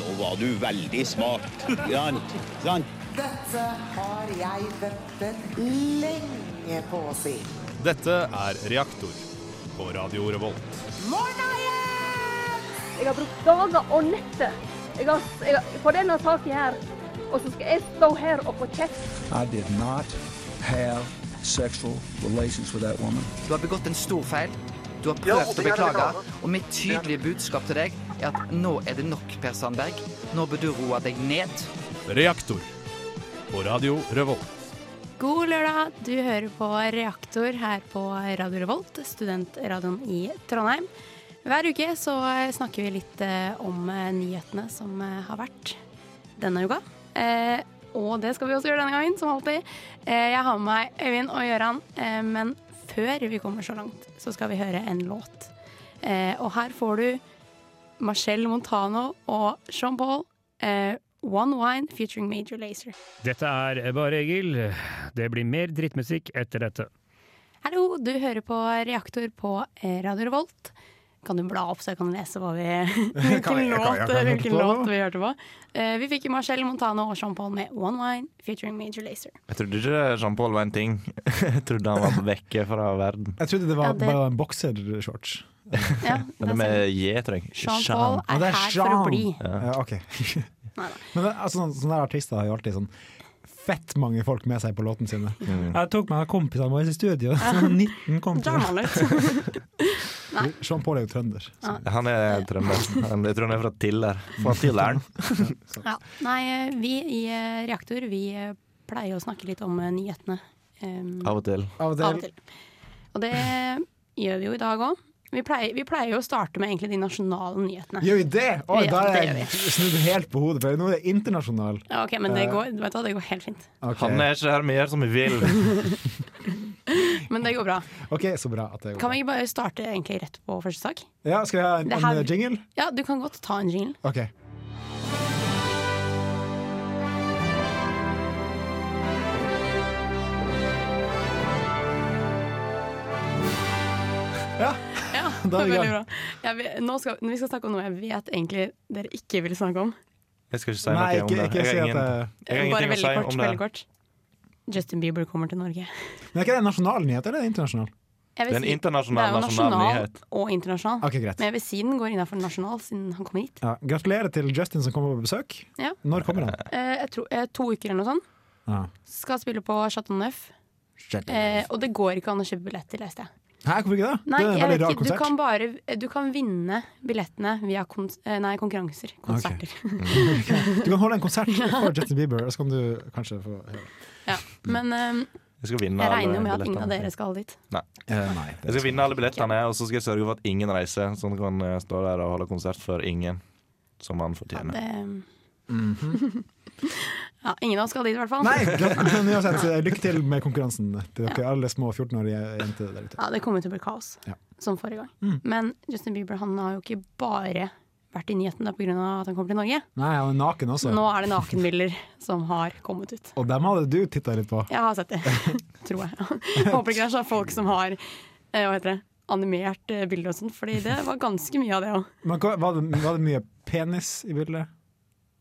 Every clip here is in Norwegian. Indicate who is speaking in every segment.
Speaker 1: Nå var du veldig smart. Sant? Sant?
Speaker 2: Dette har jeg ventet lenge på å si.
Speaker 3: Dette er Reaktor på Radio Revolt.
Speaker 2: Morna igjen!
Speaker 4: Jeg har brukt dager og netter jeg har, jeg har, på denne saken her. Og så skal jeg stå her og få kjeft.
Speaker 5: I did not have sexual relations with that woman.
Speaker 6: Du har begått en stor feil. Du har prøvd å beklage. Og mitt tydelige budskap til deg er at nå er det nok, Per Sandberg. Nå bør du roe deg ned.
Speaker 3: Reaktor på Radio Revolt.
Speaker 7: God lørdag. Du hører på Reaktor her på Radio Revolt, studentradioen i Trondheim. Hver uke så snakker vi litt eh, om eh, nyhetene som eh, har vært denne uka. Eh, og det skal vi også gjøre denne gangen, som alltid. Eh, jeg har med meg Øyvind og Gøran, eh, men før vi kommer så langt, så skal vi høre en låt. Eh, og her får du Marcel Montano og Jean-Paul, eh, One Wine featuring Major Lazer.
Speaker 8: Dette er Bare Egil. Det blir mer drittmusikk etter dette.
Speaker 7: Hallo, du hører på Reaktor på eh, Radio Revolt. Kan du bla opp så jeg kan lese hva vi, hvilken, låt, hvilken låt vi hørte på? Eh, vi fikk jo Marcel Montano og Jean-Paul med One Wine featuring Major Lazer.
Speaker 9: Jeg trodde ikke Jean-Paul var en ting. Jeg trodde han var vekke fra verden.
Speaker 10: Jeg trodde det var
Speaker 7: Ja, det-
Speaker 10: bare en boksershorts.
Speaker 7: Ja,
Speaker 9: Men det
Speaker 7: der ser
Speaker 9: med
Speaker 7: du.
Speaker 9: J, tror jeg.
Speaker 7: Jean-Paul
Speaker 10: Ja,
Speaker 7: er
Speaker 10: det er
Speaker 7: her for å
Speaker 10: Jean.
Speaker 7: bli.
Speaker 10: Ja, ok. Men det- altså, sånne, sånne der artister har jo alltid sånn fett mange folk med seg på låtene sine. Jeg tok med meg kompisene våre i studio. Sånn 19 kompiser.
Speaker 7: Jean-Paul ut.
Speaker 10: Sean Paul er jo trønder. så-
Speaker 9: Han er trønder. Han- Jeg tror han er fra Tiller. Fra Tilleren.
Speaker 7: Ja. Nei, eh, vi i eh, Reaktor vi eh, pleier å snakke litt om eh, nyhetene. Um,
Speaker 9: Av og til.
Speaker 10: Av og
Speaker 7: Av og til.
Speaker 10: til.
Speaker 7: Og det gjør vi jo i dag òg. Vi, pleier- vi pleier jo å starte med egentlig de nasjonale nyhetene.
Speaker 10: Gjør vi det?! Oi,
Speaker 7: Ja,
Speaker 10: da
Speaker 7: det
Speaker 10: er
Speaker 7: gjør vi.
Speaker 10: jeg snudd helt på hodet, for nå er det internasjonal.
Speaker 7: Ja, ok, Men det
Speaker 9: Eh.
Speaker 7: går, vet du, hva, det går helt fint.
Speaker 10: Ok.
Speaker 9: Han er ikke her, vi gjør som vi vil.
Speaker 7: Men det går bra.
Speaker 10: OK, så bra. at det går
Speaker 7: Kan
Speaker 10: bra.
Speaker 7: vi ikke bare starte egentlig rett på første sak?
Speaker 10: Ja, Skal vi ha en,
Speaker 7: Det her-
Speaker 10: en jingle?
Speaker 7: Ja, du kan godt ta en jingle.
Speaker 10: OK.
Speaker 7: Ja,
Speaker 10: Da er vi i
Speaker 7: veldig bra.
Speaker 10: gang.
Speaker 7: Ja, vi, nå skal, vi skal snakke om noe jeg vet egentlig dere ikke vil snakke om.
Speaker 9: Jeg skal ikke si
Speaker 10: Nei,
Speaker 9: noe om
Speaker 10: ikke,
Speaker 9: det.
Speaker 10: ikke
Speaker 9: Jeg
Speaker 10: si
Speaker 9: har
Speaker 10: at
Speaker 9: ingen,
Speaker 10: det
Speaker 9: jeg har
Speaker 7: Bare
Speaker 9: ingenting å
Speaker 7: veldig
Speaker 9: si
Speaker 7: kort,
Speaker 9: om
Speaker 7: veldig
Speaker 9: det.
Speaker 7: kort. Justin Bieber kommer til Norge.
Speaker 10: Men er ikke det en nasjonal nyhet, eller er det internasjonal?
Speaker 9: Det
Speaker 7: Jeg
Speaker 9: er
Speaker 7: vil
Speaker 9: en
Speaker 7: si-
Speaker 9: internasjonal,
Speaker 7: det er jo
Speaker 9: nasjonal nyhet.
Speaker 7: og internasjonal.
Speaker 10: Ok, greit.
Speaker 7: Men jeg vil si den går innafor nasjonal, siden han kommer hit.
Speaker 10: Ja, gratulerer til Justin som kommer på besøk.
Speaker 7: Ja.
Speaker 10: Når kommer han?
Speaker 7: Eh, jeg tror, eh, to uker eller noe sånt.
Speaker 10: Ja.
Speaker 7: Skal spille på Chateau Neuf. Eh, og det går ikke an å kjøpe billetter, leste jeg.
Speaker 10: Hæ, hvorfor ikke det?
Speaker 7: Nei,
Speaker 10: det er en
Speaker 7: jeg
Speaker 10: veldig
Speaker 7: vet
Speaker 10: rar
Speaker 7: ikke. Du
Speaker 10: konsert.
Speaker 7: kan, bare, du kan vinne billettene via kon eh, nei, konkurranser. Konserter.
Speaker 10: Mm. Du kan holde en konsert for Justin Bieber, og så kan du kanskje få høre.
Speaker 7: Ja. Men eh,
Speaker 9: Jeg skal vinne
Speaker 7: jeg regner jo med
Speaker 9: alle
Speaker 7: at ingen av dere
Speaker 9: billettene.
Speaker 7: skal dit.
Speaker 10: Eh, nei.
Speaker 9: Jeg skal vinne alle billettene, og så skal jeg sørge for at ingen reiser. Sånn kan jeg stå der og holde konsert for ingen, som han
Speaker 7: Ja,
Speaker 9: fortjener.
Speaker 7: det, mm.
Speaker 10: Mhm.
Speaker 7: ja, ingen av oss skal dit, i hvert fall.
Speaker 10: gratulerer, men uansett, eh, lykke til med konkurransen til dere alle små 14-årige jenter der ute.
Speaker 7: Ja, det kommer til å bli kaos,
Speaker 10: Ja. Mm.
Speaker 7: som forrige gang. Men Justin Bieber han har jo ikke bare vært i nyhetene pga. at han kommer til Norge.
Speaker 10: Nei, han er naken også.
Speaker 7: Nå er det nakenbilder som har kommet ut.
Speaker 10: Og dem hadde du titta litt på.
Speaker 7: Jeg har sett det, tror jeg. Håper ikke det er sånn folk som har eh, hva heter det, animert eh, bilder og sånn, Fordi det var ganske mye av det òg.
Speaker 10: Men hva- var, det, var det mye penis i bildet?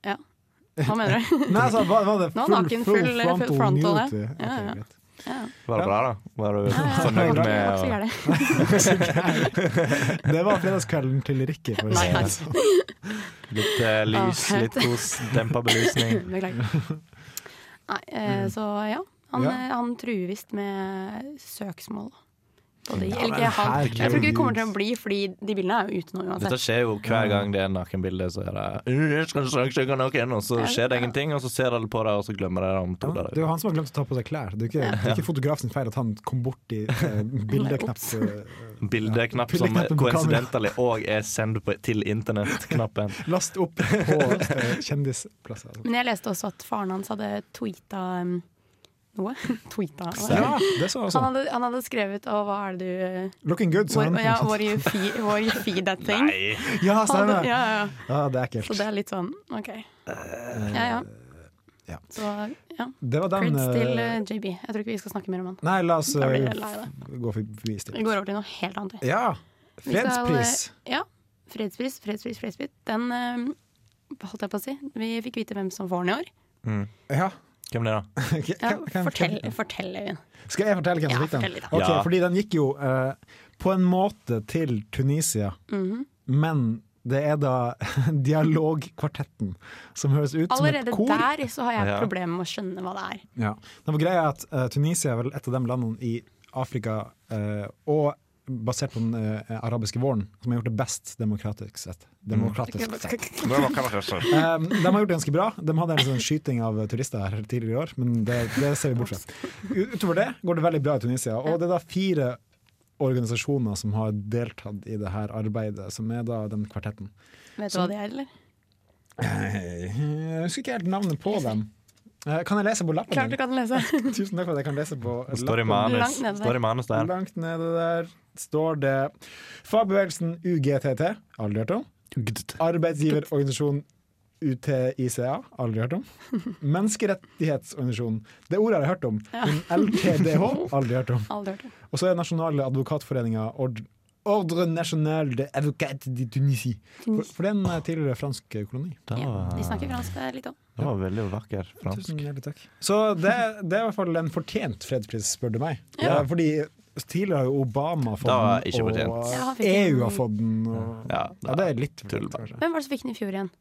Speaker 7: Ja. Hva mener du?
Speaker 10: Nei, altså, var, var det
Speaker 7: Nå
Speaker 10: full,
Speaker 7: naken,
Speaker 10: full,
Speaker 7: full, eh,
Speaker 10: frontal,
Speaker 7: full frontal, ja.
Speaker 10: nudity?
Speaker 7: Ja, ja.
Speaker 10: Ok, greit.
Speaker 9: Var det bra, da? Var du
Speaker 7: Det
Speaker 9: fornøyd
Speaker 7: var ikke så
Speaker 9: med å
Speaker 7: gærent.
Speaker 10: Det var fredagskvelden til Rikke. For å
Speaker 7: Nei,
Speaker 10: si det.
Speaker 7: takk.
Speaker 9: litt eh, lys,
Speaker 7: Ah.
Speaker 9: litt kos, dempa belysning?
Speaker 7: Beklager. Nei, eh, så ja. Han,
Speaker 10: Mm. Ja.
Speaker 7: eh, han truer visst med søksmål. Og det,
Speaker 10: Ja,
Speaker 7: eller,
Speaker 10: men
Speaker 7: ikke han, jeg tror ikke det kommer til
Speaker 10: herregud.
Speaker 7: å bli, fordi de bildene er jo ute nå
Speaker 9: Dette
Speaker 7: uansett.
Speaker 9: skjer jo hver gang det er nakenbilde. Så er det «Øh, jeg skal ikke søke noen, og så skjer det ingenting, og så ser alle på det, og så glemmer de det om to
Speaker 10: Ja, det er
Speaker 9: dager.
Speaker 10: jo han som har glemt å ta på seg klær. Det er ikke, det er ikke fotografen sin feil at han kom borti eh, bildeknapp.
Speaker 7: Ops.
Speaker 10: eh,
Speaker 9: Bildeknapp
Speaker 10: Ja,
Speaker 9: som
Speaker 10: bildeknappen på
Speaker 9: coincidentally òg er send på, til internett-knappen.
Speaker 10: Last opp på eh, kjendisplasser.
Speaker 7: Men jeg leste også at faren hans hadde tweeta um, noe. tweeta hva er det?
Speaker 10: Ja, Ah, det så jeg
Speaker 7: han,
Speaker 10: også.
Speaker 7: hadde, han hadde skrevet Og hva er det du eh,
Speaker 10: Looking good, sa
Speaker 7: hvor,
Speaker 10: han.
Speaker 7: ja, hvor you feed, hvor you feed that thing?
Speaker 9: Nei!
Speaker 10: Ja,
Speaker 7: Han hadde,
Speaker 10: stemmer.
Speaker 7: ja, ja.
Speaker 10: Ja, det er
Speaker 7: Så
Speaker 10: ekkelt.
Speaker 7: det er litt sånn OK. Ja,
Speaker 10: eh, ja.
Speaker 7: ja. Så ja.
Speaker 10: Det var den
Speaker 7: Creds til
Speaker 10: eh,
Speaker 7: eh, JB. Jeg tror ikke vi skal snakke mer om han.
Speaker 10: Nei, la oss
Speaker 7: Da blir jeg
Speaker 10: eh,
Speaker 7: lei det.
Speaker 10: gå forbi
Speaker 7: Vi
Speaker 10: stilt.
Speaker 7: går over til noe helt annet.
Speaker 10: Ja.
Speaker 7: Vi skal,
Speaker 10: Fredspris.
Speaker 7: eh, Ja. Fredspris, fredspris, fredspris. Den eh, holdt jeg på å si. Vi fikk vite hvem som får den i år.
Speaker 9: Mm.
Speaker 10: Ja.
Speaker 9: Hvem det er da?
Speaker 10: Ok,
Speaker 7: Ja,
Speaker 10: hvem- hvem-
Speaker 7: fortell, fortell, Øyvind.
Speaker 10: Skal jeg fortelle hvem som
Speaker 7: Ja,
Speaker 10: fikk den?
Speaker 7: fortell litt, da.
Speaker 10: Ok,
Speaker 9: Ja.
Speaker 10: Fordi den gikk jo eh, på en måte til Tunisia,
Speaker 7: Mhm.
Speaker 10: men det er da dialogkvartetten, som høres ut
Speaker 7: Allerede
Speaker 10: som et kor.
Speaker 7: der så har jeg
Speaker 9: Ja.
Speaker 7: problemer med å skjønne hva det er.
Speaker 10: Ja. Nå, for greia er at eh, Tunisia er vel et av de landene i Afrika, eh, og basert på den eh, arabiske våren, som har gjort det best demokratisk sett. Demokratisk sett. Um, de har gjort det ganske bra. De hadde en sånn skyting av turister her tidligere i år, men det, det ser vi bort fra. U- Utover det går det veldig bra i Tunisia. Og det er da fire organisasjoner som har deltatt i det her arbeidet, som er da den kvartetten.
Speaker 7: Vet du hva det er, eller?
Speaker 10: Eh, Jeg husker ikke helt navnet på dem. Eh, Kan jeg lese på lappen?
Speaker 7: Klart du
Speaker 10: din?
Speaker 7: kan lese.
Speaker 10: Tusen takk for at jeg kan lese på
Speaker 9: Står i
Speaker 10: lappen.
Speaker 9: manus,
Speaker 7: Langt nede.
Speaker 9: står i manus der.
Speaker 10: Langt nede der står det fagbevegelsen UGTT, aldri hørt om. Arbeidsgiverorganisasjonen UTICA, aldri hørt om. Menneskerettighetsorganisasjonen, det ordet har jeg hørt om. Men LTDH, aldri hørt om.
Speaker 7: Aldri hørt det.
Speaker 10: Og så er Nasjonale advokatforeninga Ord- Ordre National de Avocate de Tunisie. For, for det er en eh, tidligere fransk koloni.
Speaker 9: Det
Speaker 7: Ja,
Speaker 9: var,
Speaker 7: de snakker fransk eh, litt òg.
Speaker 9: det var veldig vakker fransk.
Speaker 10: Tusen hjertelig takk. Så det, det er i hvert fall en fortjent fredspris, spør du meg. Eh, Fordi tidligere har jo Obama fått
Speaker 9: Da var
Speaker 10: den,
Speaker 9: ikke
Speaker 10: og
Speaker 9: fortjent.
Speaker 7: Ja, han fikk
Speaker 10: eh,
Speaker 7: den.
Speaker 10: EU har fått den. Og,
Speaker 9: Ja,
Speaker 10: ja, det er litt
Speaker 9: tull,
Speaker 10: fortjent,
Speaker 9: da.
Speaker 10: kanskje.
Speaker 7: Hvem var det som fikk den i fjor igjen?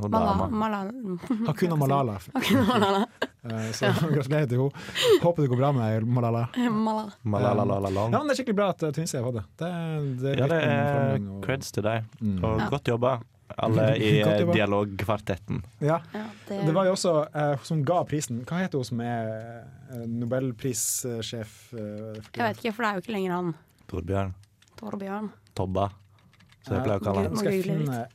Speaker 9: Og
Speaker 7: Malala.
Speaker 9: dama.
Speaker 10: Hakuna Malala. Eh, Så gratulerer til henne. Håper det går bra med deg, Malala.
Speaker 7: Malala.
Speaker 9: Malalalalalong.
Speaker 10: Ja, men Det er skikkelig bra at eh, Tunisia har fått det. Det, det er
Speaker 9: Ja, det
Speaker 10: litt en
Speaker 9: er
Speaker 10: framgang og-
Speaker 9: creds til deg,
Speaker 10: Mm.
Speaker 9: og godt jobba, alle i eh,
Speaker 10: Godt jobba.
Speaker 9: dialogkvartetten.
Speaker 10: Ja.
Speaker 7: Ja, det,
Speaker 10: Det var jo også eh, hun som ga prisen. Hva heter hun som er eh, nobelprissjef? eh, for
Speaker 7: Jeg
Speaker 10: tiden?
Speaker 7: vet ikke, for det er jo ikke lenger han
Speaker 9: Torbjørn.
Speaker 7: Torbjørn.
Speaker 9: Tobba, som jeg pleier å kalle
Speaker 10: Eh,
Speaker 9: han.
Speaker 10: nå skal jeg finne-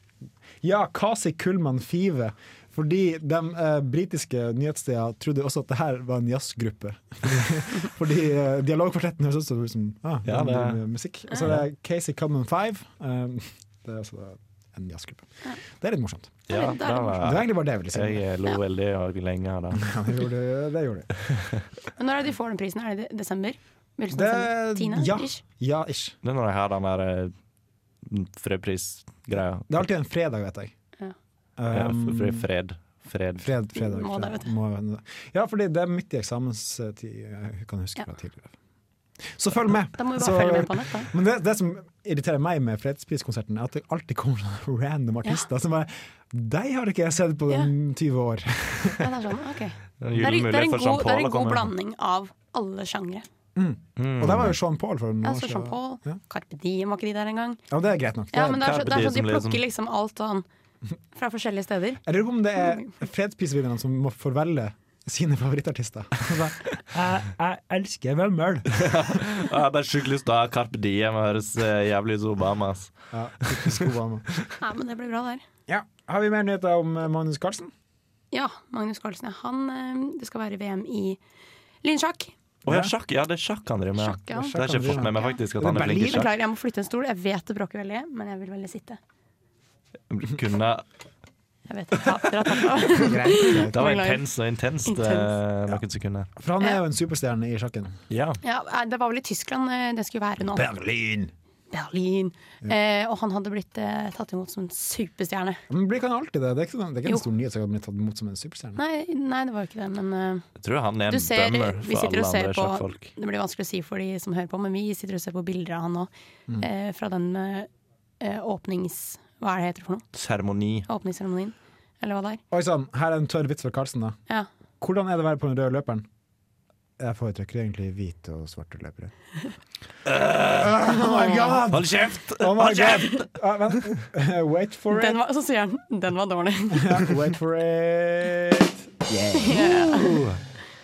Speaker 10: Ja, Kasi Kullman Five. Fordi de eh, britiske nyhetsstedene trodde også at det her var en jazzgruppe. fordi eh, dialogkvartetten høres også ut som ah,
Speaker 9: Ja,
Speaker 10: ja,
Speaker 9: det-
Speaker 10: musikk. Og så er det Casey Cullman Five. eh, det er altså da en jazzgruppe. Det er litt morsomt.
Speaker 9: Ja, det
Speaker 7: det er litt
Speaker 10: Det var
Speaker 9: var
Speaker 10: egentlig bare det jeg ville si.
Speaker 9: Jeg eh, lo veldig og lenge av det.
Speaker 10: Ja, det gjorde, det gjorde jeg.
Speaker 7: Men når er det de får den prisen? Er det i desember? Begynnelsen av desember?
Speaker 10: Det,
Speaker 7: Tiende?
Speaker 10: ja,
Speaker 7: Ish?
Speaker 10: ja, ish.
Speaker 9: Det er når jeg har den der eh, fredprisgreia.
Speaker 10: Det er alltid en fredag, vet jeg.
Speaker 7: Ja.
Speaker 9: Ja,
Speaker 10: Um,
Speaker 9: f- f- Fred. Fred.
Speaker 10: Fred, fredag,
Speaker 7: Må det,
Speaker 10: fredag.
Speaker 7: vet du.
Speaker 10: Må- ja, fordi det er midt i eksamenstid, jeg kan huske
Speaker 7: Ja.
Speaker 10: fra tidligere. Så følg med!
Speaker 7: Da må vi bare
Speaker 10: Så-
Speaker 7: følge med på nett, da.
Speaker 10: Men det, det som irriterer meg med Fredspriskonserten, er at det alltid kommer sånne random artister som bare De har ikke jeg sett på
Speaker 7: Ja.
Speaker 10: den 20 år!
Speaker 7: Ja, det er sånn,
Speaker 9: En
Speaker 7: ok. Det er, det er
Speaker 9: Julemulighet
Speaker 7: en
Speaker 9: for
Speaker 7: god, det er
Speaker 9: Jean-Paul
Speaker 7: en
Speaker 9: å
Speaker 7: god
Speaker 9: komme inn.
Speaker 7: blanding av alle sjangre.
Speaker 10: Og der var jo Sean Paul for noen
Speaker 7: Ja,
Speaker 10: år
Speaker 7: så
Speaker 10: siden.
Speaker 7: Jean-Paul,
Speaker 10: Ja.
Speaker 7: Carpe Diem var ikke de der engang.
Speaker 10: Ja, det er greit nok.
Speaker 7: Ja,
Speaker 10: Det-
Speaker 7: men det er, så, det er sånn de
Speaker 9: Carpe Diem, liksom.
Speaker 7: plukker liksom alt sånn fra forskjellige steder.
Speaker 10: Jeg lurer på om det er fredsprisvinnerne som må forvelge sine favorittartister. Altså, jeg, jeg elsker Vømmøl!
Speaker 9: Ja, det er sjukt lyst til å ha Carpe Diem og høres eh, jævlig ut som Obama. ass.
Speaker 10: Ja, typisk Obama.
Speaker 7: Ja, men det blir bra der.
Speaker 10: Ja. Har vi mer nyheter om eh, Magnus Carlsen?
Speaker 7: Ja, Magnus Carlsen, ja. Han, eh, det skal være VM i lynsjakk.
Speaker 9: Å ja, sjakk! Ja, det er sjakk han driver med.
Speaker 7: Sjakk, ja.
Speaker 9: Det har jeg ikke fått med meg faktisk at
Speaker 10: Det er
Speaker 9: han er flink i sjakk.
Speaker 7: Beklager, jeg må flytte en stol. Jeg vet det bråker veldig, men jeg vil veldig sitte.
Speaker 9: Kunne
Speaker 7: Jeg vet dere har- dere har tatt av.
Speaker 9: Det var
Speaker 7: Beklager.
Speaker 9: intenst og intenst eh, noen sekunder.
Speaker 10: For han er jo en superstjerne i sjakken.
Speaker 9: Ja.
Speaker 7: Ja, eh, det var vel i Tyskland eh, det skulle være nå.
Speaker 10: Berlin!
Speaker 7: Berlin. Eh, og han hadde blitt eh, tatt imot som en superstjerne.
Speaker 10: Men blir ikke han alltid det? Det er ikke, sånn- det er ikke
Speaker 7: Jo.
Speaker 10: en stor nyhet at han blir tatt imot som en superstjerne.
Speaker 7: Nei, nei det var jo ikke det, men eh,
Speaker 9: Jeg tror han er
Speaker 7: du
Speaker 9: en
Speaker 7: ser
Speaker 9: bummer
Speaker 7: Vi
Speaker 9: for
Speaker 7: sitter
Speaker 9: alle
Speaker 7: og ser
Speaker 9: andre
Speaker 7: på
Speaker 9: sjakkfolk.
Speaker 7: Det blir vanskelig å si for de som hører på, men vi sitter og ser på bilder av han nå.
Speaker 10: Mm.
Speaker 7: Eh, fra den eh, eh, åpnings... Hva er det heter for noe?
Speaker 9: Seremoni.
Speaker 7: Åpningsseremonien? Eller hva det er.
Speaker 10: Oi sann, her er en tørr vits fra Carlsen, da.
Speaker 7: Ja.
Speaker 10: Hvordan er det å være på den røde løperen? Jeg foretrekker egentlig hvite og svarte løpere. oh my god!
Speaker 9: Hold kjeft!
Speaker 10: Oh my god! Ah, vent. Wait for it.
Speaker 7: Den var, så sier han den var dårlig.
Speaker 10: Ja, Wait for it.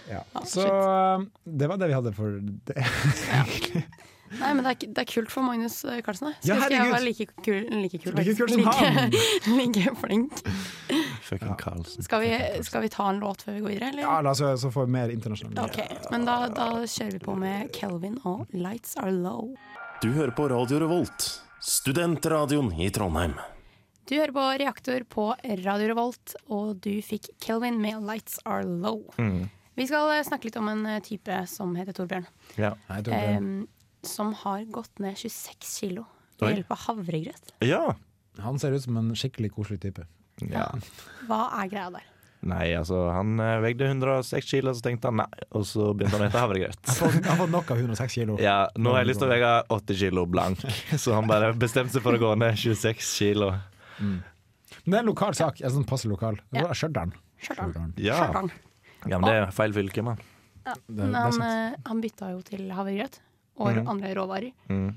Speaker 10: Ja. Så um, det var det vi hadde for det.
Speaker 7: Nei, men det er, ikke- det er kult for Magnus eh, Carlsen. da. Skulle
Speaker 10: Ja,
Speaker 7: ønske jeg
Speaker 10: herregud.
Speaker 7: var like kul, like kul,
Speaker 10: Like kul
Speaker 7: faktisk.
Speaker 10: som han.
Speaker 7: like, like flink.
Speaker 9: Fucking Carlsen.
Speaker 7: Skal vi, skal vi ta en låt før vi går videre, eller?
Speaker 10: Ja, la oss høre, så får vi mer internasjonalt.
Speaker 7: Ok, men da, da kjører vi på med Kelvin og 'Lights Are Low'.
Speaker 11: Du hører på Radio Revolt, studentradioen i Trondheim.
Speaker 7: Du hører på Reaktor på Radio Revolt, og du fikk Kelvin med 'Lights Are Low'.
Speaker 9: Mm.
Speaker 7: Vi skal eh, snakke litt om en eh, type som heter Torbjørn.
Speaker 9: Ja.
Speaker 10: Nei, Torbjørn.
Speaker 7: em, som har gått ned 26 kilo
Speaker 9: Oi.
Speaker 7: ved hjelp av havregrøt.
Speaker 9: ja.
Speaker 10: Han ser ut som en skikkelig koselig type.
Speaker 9: Ja.
Speaker 7: Hva er greia der?
Speaker 9: Nei, altså, han eh, veide 106 kilo, så tenkte han nei, og så begynte han å spise havregrøt.
Speaker 10: Han har fått nok av 106 kilo.
Speaker 9: Ja, nå har jeg lyst til å veie 80 kilo blank, så han bare bestemte seg for å gå ned 26 kilo.
Speaker 10: Men det er en lokal sak. En sånn passe lokal. Det var Stjørdal. Stjørdal.
Speaker 9: Ja.
Speaker 7: Stjørdal.
Speaker 9: ja, men det er feil fylke, mann.
Speaker 7: Ja.
Speaker 10: det er
Speaker 7: Men han,
Speaker 10: sant.
Speaker 7: eh, han bytta jo til havregrøt og
Speaker 9: Mhm.
Speaker 7: andre råvarer,
Speaker 9: Mm.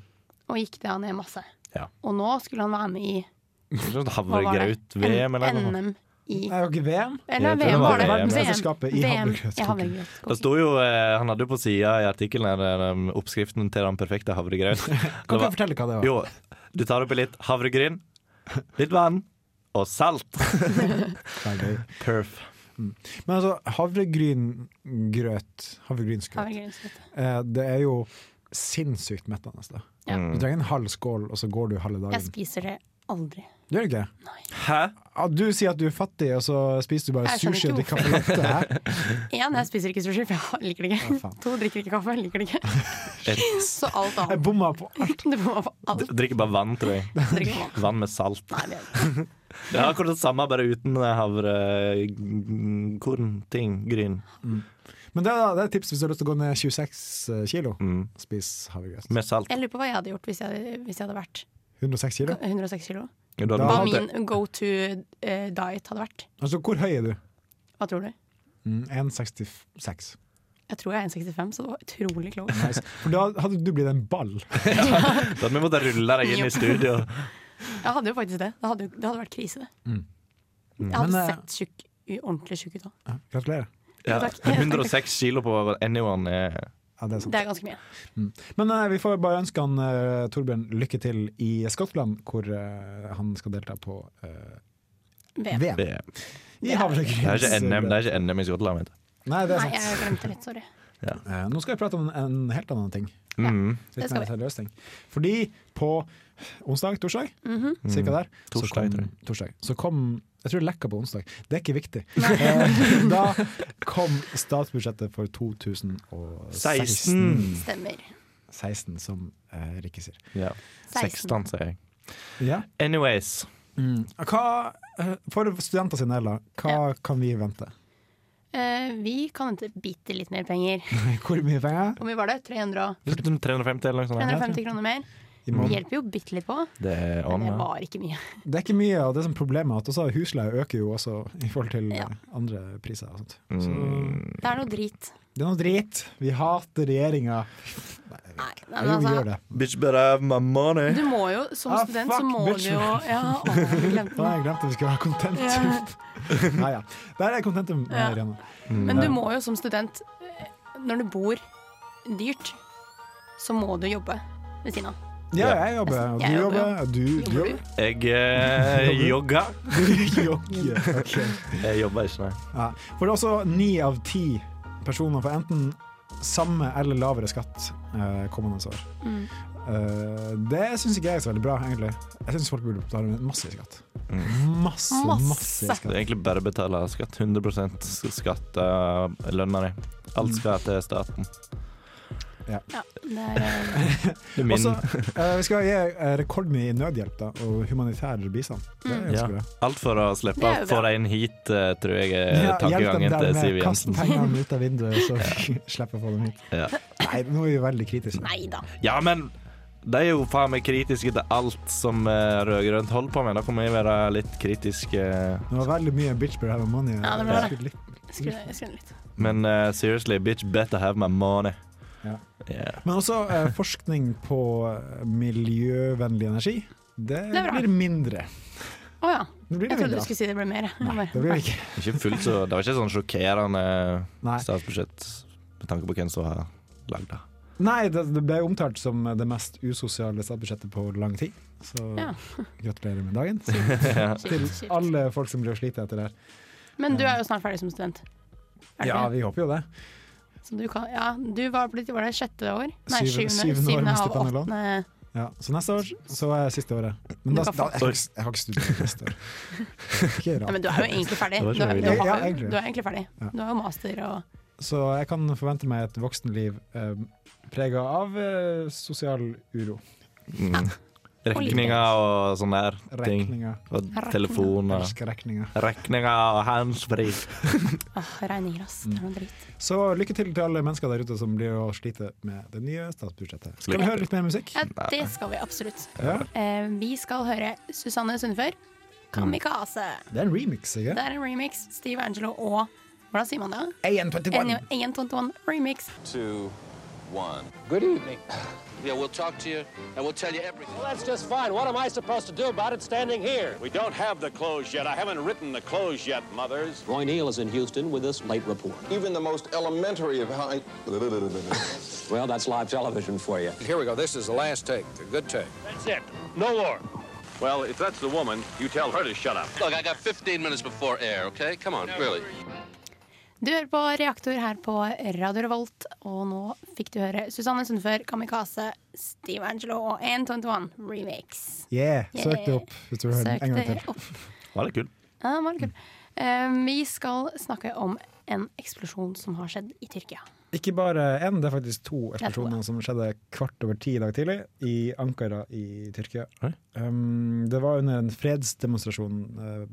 Speaker 7: og gikk det ned masse.
Speaker 9: Ja.
Speaker 7: Og nå skulle han være med i
Speaker 9: Sånn
Speaker 7: hva var det?
Speaker 9: Havregrøt-VM eller noe.
Speaker 7: NM i
Speaker 10: Det er jo ikke VM.
Speaker 9: Jeg
Speaker 7: Eller
Speaker 9: tror det
Speaker 7: VM
Speaker 9: var
Speaker 7: var det.
Speaker 9: VM.
Speaker 10: Mesterskapet i havregrøtkoking.
Speaker 9: Det sto jo, eh, Han hadde jo på sida i artikkelen her, eh, oppskriften til den perfekte havregrøt.
Speaker 10: Kan ikke du fortelle hva det var?
Speaker 9: Jo, du tar oppi litt havregryn, litt vann og salt.
Speaker 10: Det er gøy.
Speaker 9: Perf.
Speaker 10: Men altså, havregryngrøt Havregrynsgrøt. Eh, det er jo sinnssykt mettende. da.
Speaker 7: Ja.
Speaker 9: Mm.
Speaker 10: Du trenger en halv skål, og så går du halve
Speaker 7: Jeg
Speaker 10: dagen.
Speaker 7: spiser det aldri.
Speaker 10: Gjør du ikke?
Speaker 9: Hæ?
Speaker 10: Ja, du sier at du er fattig, og så spiser du bare
Speaker 7: Jeg skjønner
Speaker 10: sushi og
Speaker 7: ikke
Speaker 10: drikker kaffe latte. Hæ?
Speaker 7: Én, jeg spiser ikke sushi, for jeg liker det
Speaker 10: Ja,
Speaker 7: ikke.
Speaker 10: faen.
Speaker 7: To, drikker ikke kaffe, liker det ikke. Så alt
Speaker 10: Jeg
Speaker 7: annet.
Speaker 10: bomma på
Speaker 7: Du må få alt.
Speaker 9: D- Drikker bare vann, tror jeg.
Speaker 7: Drikker vann.
Speaker 9: Vann med salt.
Speaker 7: Nei, det er
Speaker 9: Det er akkurat det samme, bare uten havrekorn, ting, gryn.
Speaker 10: Men det er, det er et tips hvis du har lyst til å gå ned 26 kilo.
Speaker 9: Mm.
Speaker 10: Spis havregrøt.
Speaker 9: Med salt.
Speaker 7: jeg lurer på hva jeg hadde gjort hvis jeg, hvis jeg hadde vært
Speaker 10: 106 kilo?
Speaker 7: 106 kilo.
Speaker 9: Du hadde
Speaker 10: Da-
Speaker 7: Hva
Speaker 9: valgt det.
Speaker 7: min go to diet hadde vært.
Speaker 10: Altså, hvor høy er du?
Speaker 7: Hva tror du?
Speaker 10: Mm, 1,66.
Speaker 7: Jeg tror jeg er 1,65, så det var utrolig klokt.
Speaker 10: Nice. For da hadde du blitt en ball.
Speaker 9: Da hadde vi måttet rulle deg inn i studio.
Speaker 7: Jeg hadde jo faktisk det. Det hadde, jo- det hadde vært krise, det.
Speaker 10: Mm.
Speaker 7: Jeg hadde
Speaker 10: Men, eh,
Speaker 7: sett tjukk, u- ordentlig tjukk ut da.
Speaker 10: Ja, Gratulerer.
Speaker 9: Ja,
Speaker 7: Takk.
Speaker 9: 106 kilo på anyone er
Speaker 10: Ja, det er sant.
Speaker 7: Det er ganske mye.
Speaker 10: Men eh, vi får bare ønske han eh, Torbjørn lykke til i Skottland, hvor eh, han skal delta på eh,
Speaker 7: VM.
Speaker 10: VM.
Speaker 9: det.
Speaker 10: I havregryns.
Speaker 9: Det er ikke NM, det er ikke NM i Skottland. Vet du.
Speaker 10: Nei, det er
Speaker 7: Nei,
Speaker 10: sant.
Speaker 7: jeg glemte litt, sorry.
Speaker 10: Eh, Nå skal vi prate om en helt annen ting.
Speaker 9: Mm.
Speaker 10: Litt
Speaker 7: skal
Speaker 10: mer
Speaker 7: vi.
Speaker 10: seriøs ting. Fordi på onsdag, torsdag,
Speaker 7: Mhm.
Speaker 10: cirka der
Speaker 9: Mm.
Speaker 10: så
Speaker 9: Torsdag,
Speaker 10: kom,
Speaker 9: tror jeg.
Speaker 10: torsdag så kom Jeg tror det lekka på onsdag. Det er ikke viktig. Eh, da kom statsbudsjettet for 2016.
Speaker 9: 16.
Speaker 7: Stemmer.
Speaker 10: 16 som eh, Rikke sier.
Speaker 9: Ja. 16, sier jeg.
Speaker 10: Ja.
Speaker 9: Anyways.
Speaker 10: Hva, eh, for studenter sin del, da, hva kan vi vente?
Speaker 7: Eh, vi kan hente bitte litt mer penger.
Speaker 10: Hvor mye penger?
Speaker 7: Hvor mye var det? 300,
Speaker 9: 350 eller noe sånt.
Speaker 7: 350 kroner mer?
Speaker 10: I
Speaker 7: Det
Speaker 10: måneden?
Speaker 7: hjelper jo bitte litt på,
Speaker 9: Det er
Speaker 7: men det
Speaker 9: on.
Speaker 7: var ikke mye.
Speaker 10: Det er ikke mye av det som er problemet, at også husleia øker jo også i forhold til
Speaker 7: Ja.
Speaker 10: eh, andre priser. og sånt.
Speaker 9: Mm.
Speaker 10: Så
Speaker 7: Det er noe drit.
Speaker 10: det er noe drit. Vi hater regjeringa.
Speaker 7: Nei, nei,
Speaker 10: Jo,
Speaker 7: men
Speaker 10: vi
Speaker 7: altså,
Speaker 10: gjør det.
Speaker 9: Bitch better have my money.
Speaker 7: Du må jo, som
Speaker 10: Ah,
Speaker 7: student,
Speaker 10: fuck,
Speaker 7: så må
Speaker 10: bitch.
Speaker 7: du jo Ja, å, jeg glemte
Speaker 10: Da har
Speaker 7: den.
Speaker 10: jeg glemt at vi skulle ha kontent. Nei, ja. Der er kontentum. eh,
Speaker 7: Ja.
Speaker 10: Rihanna.
Speaker 7: Men du må jo som student, eh, når du bor dyrt, så må du jobbe ved siden av.
Speaker 10: Ja, jeg jobber, og du
Speaker 7: Altså, Jeg jobber,
Speaker 10: jobber, og du du
Speaker 7: Jobber du?
Speaker 10: jobber.
Speaker 9: Jeg eh, jogga.
Speaker 10: Du jogger. Ok.
Speaker 9: Jeg jobba ikke, nei.
Speaker 10: Ja. For det er også ni av ti personer får enten samme eller lavere skatt eh, kommende år.
Speaker 7: Mm.
Speaker 10: Eh, det syns ikke jeg er så veldig bra, egentlig. Jeg syns folk burde betale masse i skatt. Masse,
Speaker 7: Masse.
Speaker 10: masse i
Speaker 9: Mm. Det
Speaker 10: skatt.
Speaker 9: er egentlig bare å betale skatt. 100 skatt av lønna di. Alt skal til staten.
Speaker 7: Ja, det er, eh,
Speaker 9: Det er min.
Speaker 10: Også, eh, vi skal gi eh, rekordmye i nødhjelp da, og humanitær bistand. Det
Speaker 7: Mm.
Speaker 9: Ja.
Speaker 10: er ganske bra.
Speaker 9: Alt for å
Speaker 7: Det
Speaker 9: slippe
Speaker 7: er
Speaker 9: å
Speaker 7: jo
Speaker 9: få
Speaker 7: bra.
Speaker 9: deg inn hit, eh, tror jeg er tankegangen til Siv
Speaker 10: Kast
Speaker 9: Jensen.
Speaker 10: pengene ut av vinduet, så vi slipper å få dem hit.
Speaker 9: Ja.
Speaker 10: Nei, nå er vi veldig kritiske.
Speaker 7: nei da.
Speaker 9: ja, men de er jo faen meg kritiske til alt som eh, rød-grønt holder på med. Da kommer jeg være litt kritisk. eh.
Speaker 10: Det var veldig mye bitch bear have money.
Speaker 7: Ja, det var det.
Speaker 10: Litt-
Speaker 7: Skru ned skru ned litt.
Speaker 9: Men eh, seriously, bitch better have my money.
Speaker 10: Ja.
Speaker 9: Yeah.
Speaker 10: Men også eh, forskning på eh, miljøvennlig energi. Det,
Speaker 7: Det er bra.
Speaker 10: blir mindre.
Speaker 7: Å ja.
Speaker 10: Det
Speaker 7: Jeg trodde
Speaker 10: blir det
Speaker 7: du
Speaker 10: mindre. av.
Speaker 7: skulle si det ble mer. jeg.
Speaker 10: Nei, det blir det ikke.
Speaker 9: Ikke fullt så Det var ikke sånn sjokkerende
Speaker 10: Nei.
Speaker 9: statsbudsjett med tanke på hvem som har lagd det.
Speaker 10: Nei, det, det ble omtalt som eh, det mest usosiale statsbudsjettet på lang tid. Så
Speaker 7: Ja.
Speaker 10: gratulerer med dagen. Til
Speaker 7: Shit, shit.
Speaker 10: alle folk som blir å slite etter det her.
Speaker 7: Men du er jo snart ferdig som student. Er du
Speaker 10: Ja,
Speaker 7: ikke?
Speaker 10: vi håper jo det.
Speaker 7: Så du, kan, ja, du var, blitt, var det sjette år? Nei, syvende,
Speaker 10: Syvende- syvende år
Speaker 7: syvende,
Speaker 10: med
Speaker 7: av
Speaker 10: Stefan Helland.
Speaker 7: åttende.
Speaker 10: Ja, så neste år så er siste året. Men da, da, jeg, har ikke- jeg har ikke studert neste år. Ikke
Speaker 7: Nei,
Speaker 10: rart.
Speaker 7: men du er jo egentlig ferdig.
Speaker 9: Det var
Speaker 7: Du,
Speaker 9: ikke
Speaker 7: er-
Speaker 9: mye
Speaker 7: du,
Speaker 10: vilje.
Speaker 7: har,
Speaker 10: Ja,
Speaker 7: jo-
Speaker 10: egentlig.
Speaker 7: du er egentlig ferdig.
Speaker 10: Ja.
Speaker 7: Du har jo master og
Speaker 10: Så jeg kan forvente meg et voksenliv eh, prega av eh, sosial uro.
Speaker 9: Mm. Regninger og sånne der ting.
Speaker 10: Regninger.
Speaker 9: Og telefon og
Speaker 10: Elsker regninger.
Speaker 9: Regninger og handsfree.
Speaker 7: Åh, regninger, ass.
Speaker 10: Mm.
Speaker 7: Det er noe dritt.
Speaker 10: Så lykke til til alle mennesker der ute som blir å slite med det nye statsbudsjettet. Skal
Speaker 9: Lykke
Speaker 10: vi høre litt mer musikk?
Speaker 7: Ja, det skal vi absolutt.
Speaker 10: Ja. Mm.
Speaker 7: Eh, vi skal høre Susanne Sundfør, 'Kamikaze'.
Speaker 10: Det er en remix, ikke?
Speaker 7: Det er en remix. Steve Angelo og Hvordan sier man det?
Speaker 10: AN21.
Speaker 7: AN21 remix.
Speaker 12: two, one. Good evening. Yeah, we'll talk to you and we'll tell you everything. Well, that's just fine. What am I supposed to do about it standing here?
Speaker 1: We don't have the clothes yet. I haven't written the clothes yet, mothers.
Speaker 13: Roy Neal is in Houston with this late report.
Speaker 14: Even the most elementary of high.
Speaker 13: Well, that's live television for you.
Speaker 12: Here we go. This is the last take, the good take. That's it. No more. Well, if that's the woman, you tell her to shut up. Look, I got 15 minutes before air, okay? Come on, really.
Speaker 7: Du hører på Reaktor her på Radio Revolt, og nå fikk du høre Susanne Sundfør, 'Kamikaze', Steve Angelo og AN21 remix.
Speaker 10: Yeah, søk det
Speaker 7: Yeah.
Speaker 10: opp hvis du vil høre
Speaker 7: Søk
Speaker 10: den en gang
Speaker 7: det
Speaker 10: til.
Speaker 7: opp.
Speaker 9: Var det kult?
Speaker 7: Ja, den var litt kul. Eh, vi skal snakke om en eksplosjon som har skjedd i Tyrkia.
Speaker 10: Ikke bare én, det er faktisk to
Speaker 7: er to,
Speaker 10: eksplosjoner som skjedde kvart over ti i dag tidlig i Ankara i Tyrkia.
Speaker 9: Oi.
Speaker 10: Um, det var under en fredsdemonstrasjon, eh,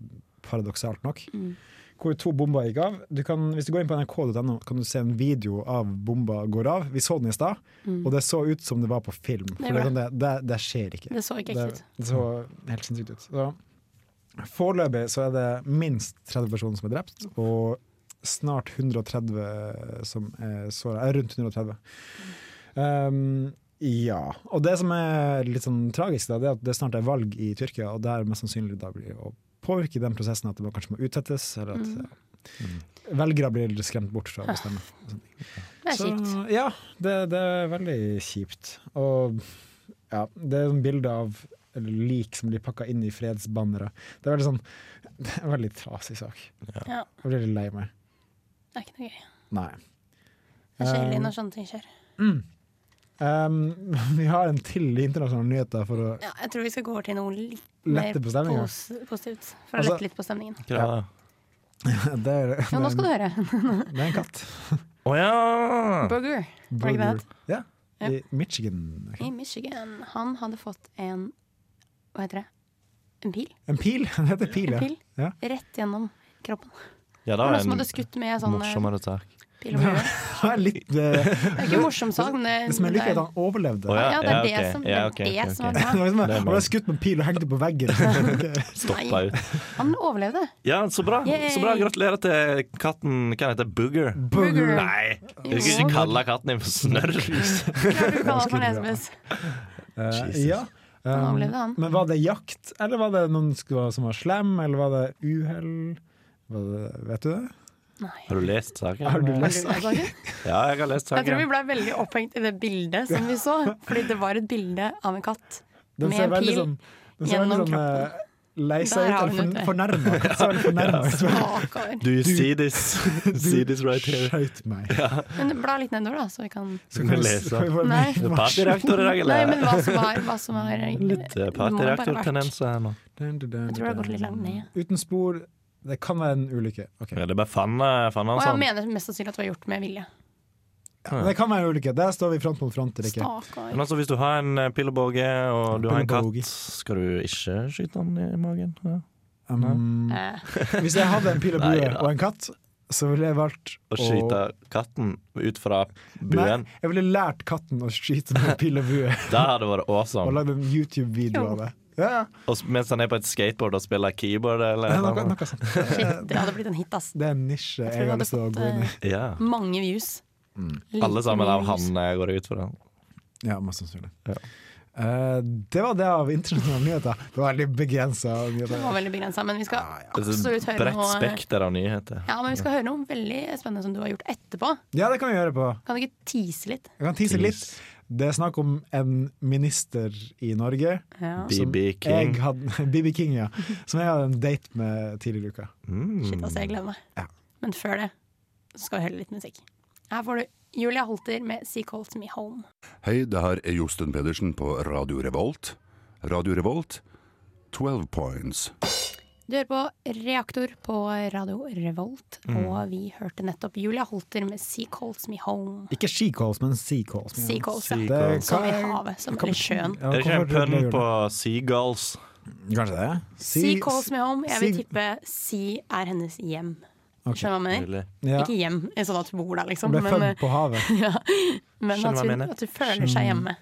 Speaker 10: paradoksalt nok,
Speaker 7: Mm.
Speaker 10: hvor to bomber gikk av. Du kan, hvis du går inn på nrk.no, kan du se en video av bomba går av. Vi så den i stad,
Speaker 7: Mm.
Speaker 10: og det så ut som det var på film.
Speaker 7: Det
Speaker 10: For det,
Speaker 7: gjorde
Speaker 10: er sånn det, det, det skjer ikke.
Speaker 7: Det så ikke ekte ut.
Speaker 10: Det, det så helt sinnssykt ut. Så, foreløpig så er det minst 30 personer som er drept, og snart 130 som er såra. Rundt 130. Um, ja. Og det som er litt sånn tragisk, da, det er at det snart er valg i Tyrkia, og det er mest sannsynlig da blir å påvirke den prosessen at det må, kanskje må utsettes, eller at
Speaker 7: Mm.
Speaker 10: ja, velgere blir skremt bort fra å
Speaker 7: Ja.
Speaker 10: bestemme. og sånne ting.
Speaker 7: Det er
Speaker 10: Så,
Speaker 7: kjipt.
Speaker 10: Ja, det, det er veldig kjipt. Og ja, det er sånn bilde av lik som blir pakka inn i fredsbannere. Det er veldig sånn Det er en veldig trasig sak.
Speaker 7: Ja,
Speaker 10: Jeg blir litt lei meg.
Speaker 7: det er ikke noe gøy.
Speaker 10: Nei.
Speaker 7: Det er kjedelig
Speaker 10: Um,
Speaker 7: når sånne ting skjer.
Speaker 10: Um, vi har en til internasjonale nyheter for å
Speaker 7: Ja, jeg tror vi skal gå over til noe litt mer
Speaker 10: lette på stemninga.
Speaker 7: pos positivt. For å
Speaker 10: Altså-
Speaker 7: lette litt på stemningen.
Speaker 9: Hva er det?
Speaker 10: Det er,
Speaker 7: Ja, nå skal du høre.
Speaker 10: det er en katt.
Speaker 9: Å ja!
Speaker 7: Burger. Var det ikke det?
Speaker 10: Ja.
Speaker 7: Ja.
Speaker 10: I Michigan.
Speaker 7: I Michigan. Han hadde fått en Hva heter det? En pil?
Speaker 10: En pil! Det heter pil,
Speaker 7: En
Speaker 10: ja.
Speaker 7: pil?
Speaker 10: ja.
Speaker 7: Rett gjennom kroppen.
Speaker 9: Ja, det
Speaker 7: Det var
Speaker 9: var
Speaker 7: noen som
Speaker 9: en
Speaker 7: hadde skutt med sånn eh,
Speaker 9: morsommere sak.
Speaker 7: pil over øret.
Speaker 10: Det er litt eh,
Speaker 7: Det er ikke en morsom sak, men det,
Speaker 10: Det som jeg liker, er at han
Speaker 9: Å,
Speaker 10: overlevde.
Speaker 9: ja.
Speaker 7: Ja, det er det
Speaker 9: ok.
Speaker 7: som-
Speaker 9: Ja,
Speaker 7: det er
Speaker 9: ok,
Speaker 7: det
Speaker 9: ok,
Speaker 7: som er
Speaker 9: ok.
Speaker 7: bra.
Speaker 10: Det var liksom,
Speaker 9: Det er
Speaker 10: Han ble skutt med pil og hengte på veggen. Ok.
Speaker 9: Stoppa ut.
Speaker 7: Han overlevde.
Speaker 9: Ja, så bra. så bra.
Speaker 7: Yay.
Speaker 9: Gratulerer til katten. Hva heter den? Booger?
Speaker 7: Burger.
Speaker 9: Nei, jeg skal
Speaker 7: Jo.
Speaker 9: ikke kalle katten din for snørrlys.
Speaker 7: Klart du kaller det for
Speaker 10: Skulle bra.
Speaker 7: nesebøss.
Speaker 10: Eh,
Speaker 9: Jesus.
Speaker 10: ja.
Speaker 7: Han
Speaker 10: Um,
Speaker 7: overlevde, han.
Speaker 10: men var det jakt, eller var det noen sk- som var slem, eller var det uhell? Var det- Vet du det?
Speaker 7: Nei.
Speaker 9: Har du lest saken?
Speaker 10: Har du
Speaker 7: Har du
Speaker 10: lest
Speaker 7: lest saken?
Speaker 9: Ja, jeg har lest
Speaker 7: Jeg tror vi
Speaker 9: saken.
Speaker 7: ble veldig opphengt i det bildet som vi så. Fordi det var et bilde av en katt
Speaker 10: Den
Speaker 7: med
Speaker 10: ser
Speaker 7: en
Speaker 10: veldig
Speaker 7: pil.
Speaker 10: sånn- den ser
Speaker 7: gjennom
Speaker 10: veldig sånn eh, lei seg
Speaker 7: Der
Speaker 10: ut,
Speaker 7: har hun
Speaker 10: eller
Speaker 7: det.
Speaker 10: fornærma. Fornærma ut.
Speaker 7: bakover.
Speaker 9: Do you see this? see this right here?
Speaker 10: Skjøt meg.
Speaker 7: Men bla litt nedover, da, så vi kan
Speaker 10: Så kan
Speaker 9: Du
Speaker 10: vi,
Speaker 9: leser.
Speaker 10: kan vi få en
Speaker 7: Nei.
Speaker 9: Partyreaktor i dag,
Speaker 7: Nei, men
Speaker 9: eller?
Speaker 7: hva som var, hva som var
Speaker 9: Litt eh,
Speaker 7: Det må bare ha vært-
Speaker 9: partyreaktortendenser her nå.
Speaker 10: Dun, dun, dun,
Speaker 7: Jeg tror det har gått litt langt ned.
Speaker 10: Uten spor. Det kan være en ulykke. Ok.
Speaker 9: Ja, det er bare fanna fanna
Speaker 7: Og
Speaker 9: hans.
Speaker 7: jeg
Speaker 9: han.
Speaker 7: mener mest sannsynlig at det var gjort med vilje.
Speaker 10: Men Det kan være en ulykke. Der står vi front mot front. Rikke.
Speaker 9: Men
Speaker 7: Stakkar.
Speaker 9: altså, hvis du har en eh, pil og båge, og du har en
Speaker 10: Pil og båge.
Speaker 9: katt, skal du ikke skyte den i magen? Ja.
Speaker 10: Um,
Speaker 7: Eh,
Speaker 10: hvis jeg hadde en pil og
Speaker 9: Nei,
Speaker 10: bue
Speaker 9: da.
Speaker 10: og en katt, så ville jeg valgt
Speaker 9: Å skyte katten ut fra buen?
Speaker 10: Nei, jeg ville lært katten å skyte med pil og bue,
Speaker 9: Det hadde vært
Speaker 10: og
Speaker 9: awesome.
Speaker 10: lagd en YouTube-video av det. Ja, ja.
Speaker 9: Og s- mens han er på et skateboard og spiller keyboard eller
Speaker 10: Nei,
Speaker 9: noe.
Speaker 10: noe, noe sånt.
Speaker 7: shit, det hadde blitt en hit, ass.
Speaker 10: Det er en nisje
Speaker 7: Jeg tror
Speaker 10: jeg,
Speaker 7: jeg
Speaker 10: har
Speaker 7: hadde
Speaker 10: lyst til å
Speaker 7: fått, eh,
Speaker 10: gå inn i.
Speaker 9: Ja.
Speaker 7: Mange views. Like
Speaker 9: Mm. Alle sammen
Speaker 7: mye
Speaker 9: av
Speaker 7: views.
Speaker 9: han eh, går ut for det.
Speaker 10: Ja, mest sannsynlig.
Speaker 9: Ja.
Speaker 10: Eh, det var det av internasjonale nyheter. Det var veldig begrensa
Speaker 7: Det var
Speaker 10: nyheter.
Speaker 7: veldig begrensa, men vi skal
Speaker 9: Det er
Speaker 7: absolutt
Speaker 9: et
Speaker 7: høre
Speaker 9: bredt
Speaker 7: noe
Speaker 9: spekter av nyheter.
Speaker 7: Ja, men vi skal høre noe veldig spennende som du har gjort etterpå.
Speaker 10: Ja, det kan vi gjøre på.
Speaker 7: Kan du ikke tease litt?
Speaker 10: Jeg kan tise litt.
Speaker 9: Tease.
Speaker 10: Det er snakk om en minister i Norge.
Speaker 7: Ja.
Speaker 9: BB
Speaker 10: Jeg
Speaker 9: King.
Speaker 10: hadde, BB King, ja. Som jeg hadde en date med tidligere i uka.
Speaker 7: Shit, altså, jeg gleder meg. Men før det så skal vi høre litt musikk. Her får du Julia Holter med 'She Calls Me Home'.
Speaker 15: Hei, det her er Josten Pedersen på Radio Revolt. Radio Revolt, 12 points.
Speaker 7: Du hører på Reaktor på Radio Revolt,
Speaker 10: Mm.
Speaker 7: og vi hørte nettopp Julia Holter med 'Sea Calls Me Home'.
Speaker 10: Ikke She Calls, men Sea Calls.
Speaker 7: Sea calls,
Speaker 10: Det-
Speaker 7: ja.
Speaker 10: hva-
Speaker 7: Som i havet, som
Speaker 10: hva-
Speaker 7: eller sjøen.
Speaker 10: Ja,
Speaker 9: er det ikke
Speaker 10: hvorfor
Speaker 9: en
Speaker 10: gjør
Speaker 9: pønn
Speaker 10: det?
Speaker 9: på seagulls?
Speaker 10: Kanskje det?
Speaker 7: Sea calls me home. Jeg vil
Speaker 10: sea-
Speaker 7: tippe Sea er hennes hjem.
Speaker 10: Ok.
Speaker 7: Skjønner du hva jeg mener?
Speaker 10: Ja.
Speaker 7: Ikke hjem, sånn at hun bor der, liksom.
Speaker 10: Hun ble
Speaker 7: men,
Speaker 10: født på havet.
Speaker 7: ja. men
Speaker 10: Skjønner
Speaker 7: at
Speaker 10: hva jeg
Speaker 7: hun,
Speaker 10: mener.
Speaker 7: at hun føler seg hjemme.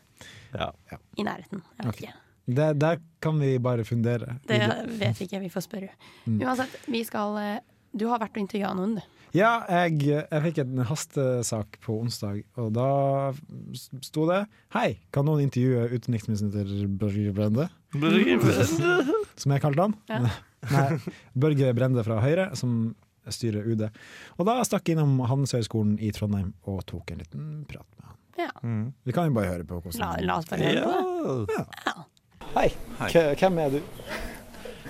Speaker 9: Ja.
Speaker 7: I nærheten. Jeg vet
Speaker 10: Ok.
Speaker 7: ikke.
Speaker 10: Det, der kan vi bare fundere.
Speaker 7: Det vet vi ikke, vi får spørre.
Speaker 10: Mm.
Speaker 7: Uansett, vi skal eh, Du har vært og intervjua noen, du.
Speaker 10: Ja, jeg, jeg fikk en hastesak på onsdag, og da sto det Hei, kan noen intervjue utenriksminister Børge Brende?
Speaker 9: Børge Brende?
Speaker 10: Som jeg kalte han.
Speaker 9: Ja.
Speaker 10: Nei, Børge Brende fra Høyre, som styrer UD. Og da stakk jeg innom Handelshøyskolen i Trondheim og tok en liten prat med han.
Speaker 7: Ja.
Speaker 10: Vi kan jo bare høre på hvordan
Speaker 7: La, la oss bare høre på det.
Speaker 10: Hei,
Speaker 16: Hei.
Speaker 10: K- hvem er du?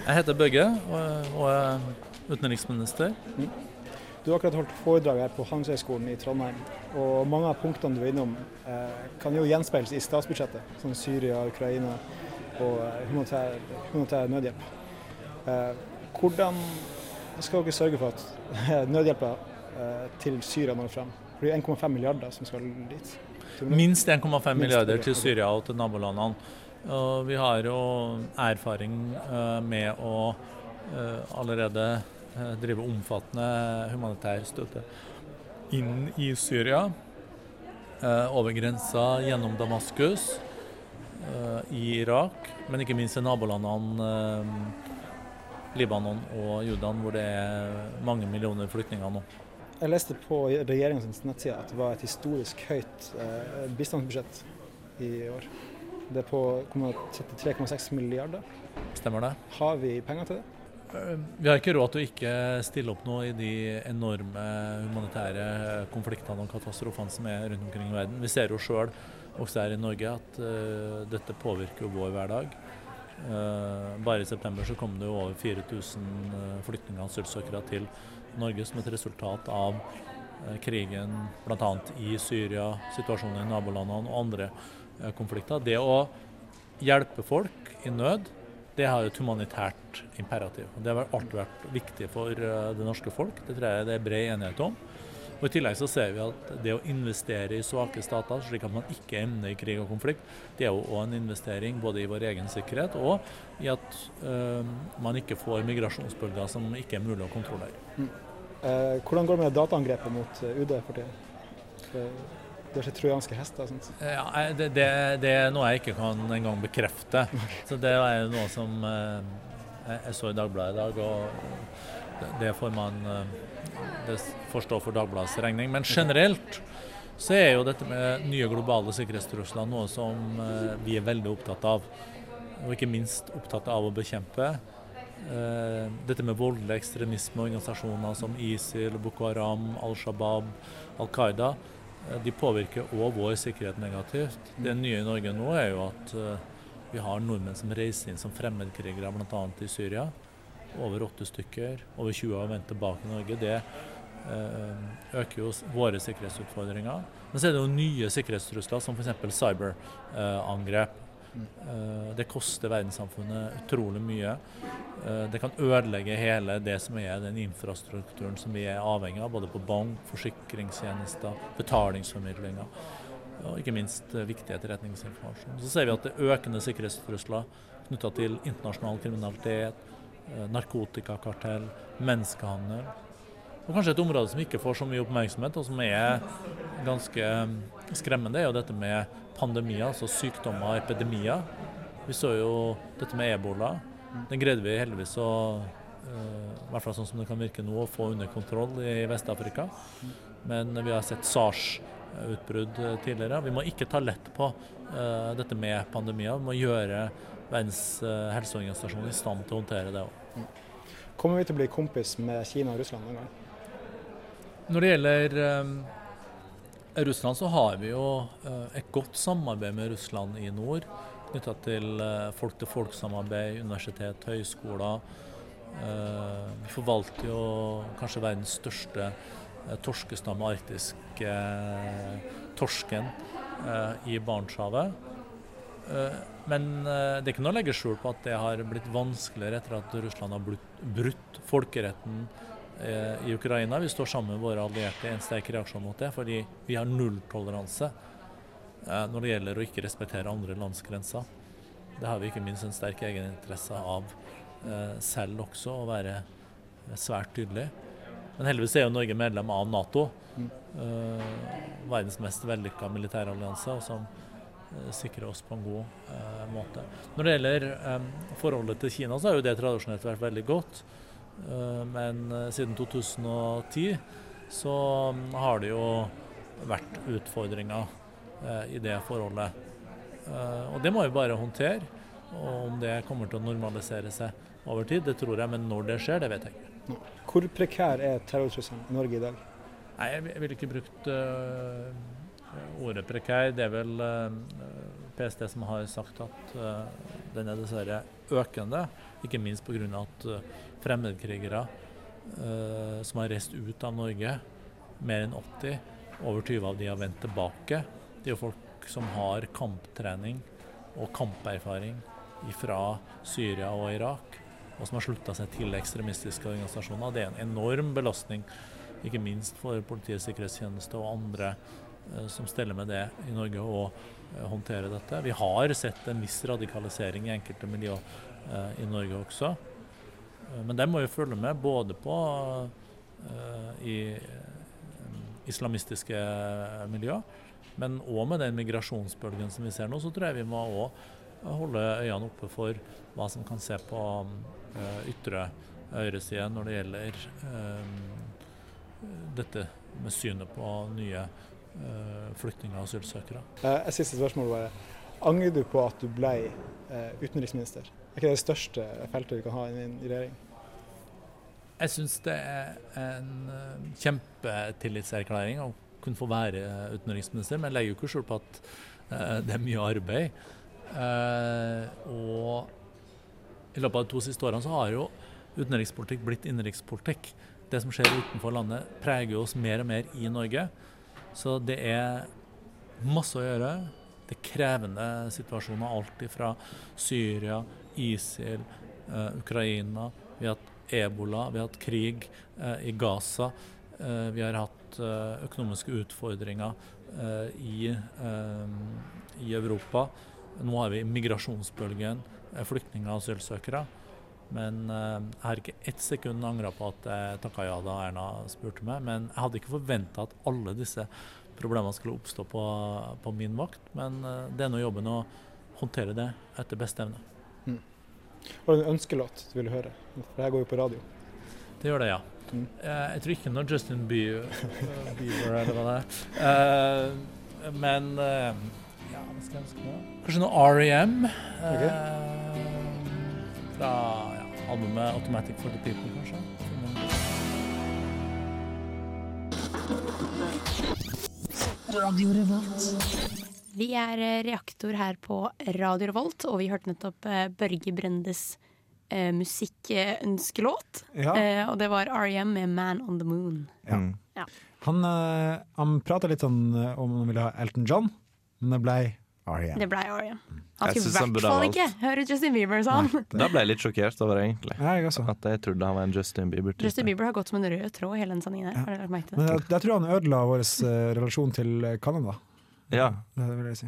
Speaker 16: Jeg heter Børge og, og er utenriksminister.
Speaker 10: Du har akkurat holdt foredrag her på Handelshøyskolen i Trondheim. Og mange av punktene du er innom eh, kan jo gjenspeiles i statsbudsjettet, som Syria, Ukraina og eh, humanitær, humanitær nødhjelp. Eh, hvordan skal dere sørge for at nødhjelpa eh, til Syria når frem? For det er 1,5 milliarder som skal dit.
Speaker 16: Minst 1,5 milliarder til
Speaker 10: ok.
Speaker 16: Syria og til nabolandene. Og vi har jo erfaring eh, med å eh, allerede eh, drive omfattende humanitær støtte inn i Syria. eh, Over grensa gjennom Damaskus eh, i Irak, men ikke minst i nabolandene eh, Libanon og Jordan, hvor det er mange millioner flyktninger nå.
Speaker 10: Jeg leste på regjeringens nettside at det var et historisk høyt eh, bistandsbudsjett i år. Det er på 33,6 milliarder.
Speaker 16: Stemmer det?
Speaker 10: Har vi penger til det?
Speaker 16: Vi har ikke råd til å ikke stille opp nå i de enorme humanitære eh, konfliktene og katastrofene som er rundt omkring i verden. Vi ser jo sjøl, også her i Norge, at eh, dette påvirker jo vår hverdag. Eh, bare i september så kom det jo over 4000 eh, flyktninger og asylsøkere til Norge som et resultat av eh, krigen bl.a. i Syria, situasjonen i nabolandene og andre eh, konflikter. Det å hjelpe folk i nød det har et humanitært imperativ. og Det har alltid vært viktig for eh, det norske folk. Det tror jeg det er bred enighet om. Og I tillegg så ser vi at det å investere i svake stater, slik at man ikke emner i krig og konflikt, det er jo også en investering både i vår egen sikkerhet og i at eh, man ikke får migrasjonsbølger som ikke er mulig å kontrollere.
Speaker 10: Eh, hvordan går det med dataangrepet mot eh, UD for tiden? Det det er ikke trojanske hester og sånt.
Speaker 16: Ja, nei, det, det, det er noe jeg ikke kan engang bekrefte. Så det er jo noe som eh, jeg, jeg så i Dagbladet i dag, og det- det får man eh, Det får stå for Dagbladets regning. Men generelt så er jo dette med nye globale sikkerhetstrusler noe som eh, vi er veldig opptatt av. Og ikke minst opptatt av å bekjempe. Eh, Dette med voldelig ekstremisme og organisasjoner som ISIL, Boko Haram, Al Shabaab, Al Qaida, eh, de påvirker også vår sikkerhet negativt. Det nye i Norge nå er jo at eh, vi har nordmenn som reiser inn som fremmedkrigere, bl.a. i Syria. Over åtte stykker. Over 20 har vendt tilbake i Norge. Det eh, øker jo s- våre sikkerhetsutfordringer. Men så er det jo nye sikkerhetstrusler, som f.eks. cyberangrep. Eh, Det koster verdenssamfunnet utrolig mye. Eh, Det kan ødelegge hele det som er den infrastrukturen som vi er avhengig av, både på bank, forsikringstjenester, betalingsformidlinger og ikke minst eh, viktig etterretningsinformasjon. Så ser vi at det er økende sikkerhetstrusler knytta til internasjonal kriminalitet, eh, narkotikakartell, menneskehandel. Og kanskje et område som ikke får så mye oppmerksomhet, og som er ganske eh, skremmende, er jo dette med pandemier, altså sykdommer og epidemier. Vi så jo dette med ebola. Den greide vi heldigvis å eh, i hvert fall sånn som det kan virke nå, å få under kontroll i Vest-Afrika. Men vi har sett SARS-utbrudd eh, tidligere. Vi må ikke ta lett på eh, dette med pandemier. Vi må gjøre Verdens eh, helseorganisasjon i stand til å håndtere det òg.
Speaker 10: Kommer vi til å bli kompis med Kina og Russland en gang?
Speaker 16: Når det gjelder eh, Russland, så har vi jo eh, et godt samarbeid med Russland i nord. Knytta til eh, folk-til-folk-samarbeid, universitet, høyskoler. Eh, vi forvalter jo kanskje verdens største eh, torskestamme, arktiske eh, torsken, eh, i Barentshavet. Eh, Men eh, det er ikke noe å legge skjul på at det har blitt vanskeligere etter at Russland har brutt, brutt folkeretten eh, i Ukraina. Vi står sammen med våre allierte i en sterk reaksjon mot det, fordi vi har nulltoleranse eh, når det gjelder å ikke respektere andre lands grenser. Det har vi ikke minst en sterk egeninteresse av eh, selv også, å være svært tydelig. Men heldigvis er jo Norge medlem av Nato, eh, verdens mest vellykka militærallianse, og som eh, sikrer oss på en god eh, måte. Når det gjelder eh, forholdet til Kina, så har jo det tradisjonelt vært veldig godt. Eh, men eh, siden 2010 så mm, har det jo vært utfordringer eh, i det forholdet. Eh, og det må vi bare håndtere. Og om det kommer til å normalisere seg over tid, det tror jeg. Men når det skjer, det vet jeg ikke.
Speaker 17: Hvor prekær er terrortrusselen i Norge i dag?
Speaker 16: Nei, jeg vil- jeg ville ikke brukt øh, ordet prekær. Det er vel øh, PST som har sagt at øh, den er dessverre økende. Ikke minst pga. at øh, fremmedkrigere øh, som har reist ut av Norge, mer enn 80, over 20 av de har vendt tilbake. Det er jo folk som har kamptrening og kamperfaring fra Syria og Irak, og som har slutta seg til ekstremistiske organisasjoner. Det er en enorm belastning ikke minst for Politiets sikkerhetstjeneste og andre eh, som steller med det i Norge og eh, håndterer dette. Vi har sett en viss radikalisering i enkelte miljø eh, i Norge også. Eh, Men der må vi følge med både på eh, i eh, islamistiske miljø, men òg med den migrasjonsbølgen som vi ser nå, så tror jeg vi må òg holde øynene oppe for hva som kan se på eh, ytre høyreside når det gjelder eh, dette med synet på nye eh, flyktninger og asylsøkere.
Speaker 17: Eh, Et siste spørsmål bare. Angrer du på at du ble eh, utenriksminister? Er ikke det det største feltet du kan ha i en i regjering?
Speaker 16: Jeg syns det er en eh, kjempetillitserklæring å kunne få være eh, utenriksminister, men jeg legger jo ikke skjul på at eh, det er mye arbeid. Eh, og i løpet av de to siste årene så har jo utenrikspolitikk blitt innenrikspolitikk. Det som skjer utenfor landet, preger oss mer og mer i Norge. Så det er masse å gjøre. Det er krevende situasjoner, alt ifra Syria, ISIL, eh, Ukraina. Vi har hatt ebola, vi har hatt krig eh, i Gaza. Eh, vi har hatt eh, økonomiske utfordringer eh, i, eh, i Europa. Nå har vi migrasjonsbølgen, eh, flyktninger og asylsøkere. Men eh, jeg har ikke ett sekund angra på at jeg takka ja da Erna spurte meg. Men jeg hadde ikke forventa at alle disse problemene skulle oppstå på, på min vakt. Men eh, det er nå jobben å håndtere det etter beste evne.
Speaker 17: Har du en ønskelåt du vil høre? For det her går jo på radio.
Speaker 16: Det gjør det, ja. Eh, Jeg tror ikke noe Justin Bie- eh, Bieber eller hva det er. Eh, Men eh, ja, hva skal jeg ønske meg? Kanskje noe REM. eh, Fra ja, albumet 'Automatic for the People', kanskje.
Speaker 7: Vi er eh, reaktor her på Radio Revolt, og vi hørte nettopp eh, Børge Brendes eh, musikkønskelåt.
Speaker 10: Ja.
Speaker 7: Eh, og det var R.E.M. med 'Man on the Moon'.
Speaker 10: Ja.
Speaker 9: Mm.
Speaker 7: Ja.
Speaker 10: Han, uh, han prata litt sånn eh, om han ville ha Elton John, men det ble R.E.M.
Speaker 7: Det ble R.E.M. Han
Speaker 9: Mm. Jeg
Speaker 7: skulle
Speaker 9: synes
Speaker 7: i
Speaker 9: han burde
Speaker 7: hvert
Speaker 9: ha
Speaker 7: fall
Speaker 9: valgt.
Speaker 7: ikke høre Justin Bieber, sa han.
Speaker 9: Da ble jeg litt sjokkert over det, egentlig. At jeg trodde han var en Justin Bieber-type.
Speaker 7: Justin Bieber har gått som en rød tråd hele den sendingen her. Har dere lagt merke til
Speaker 10: Men
Speaker 7: det?
Speaker 10: jeg, jeg tror han ødela vår eh, relasjon til eh, Canada.
Speaker 9: Ja.
Speaker 10: Det vil jeg si.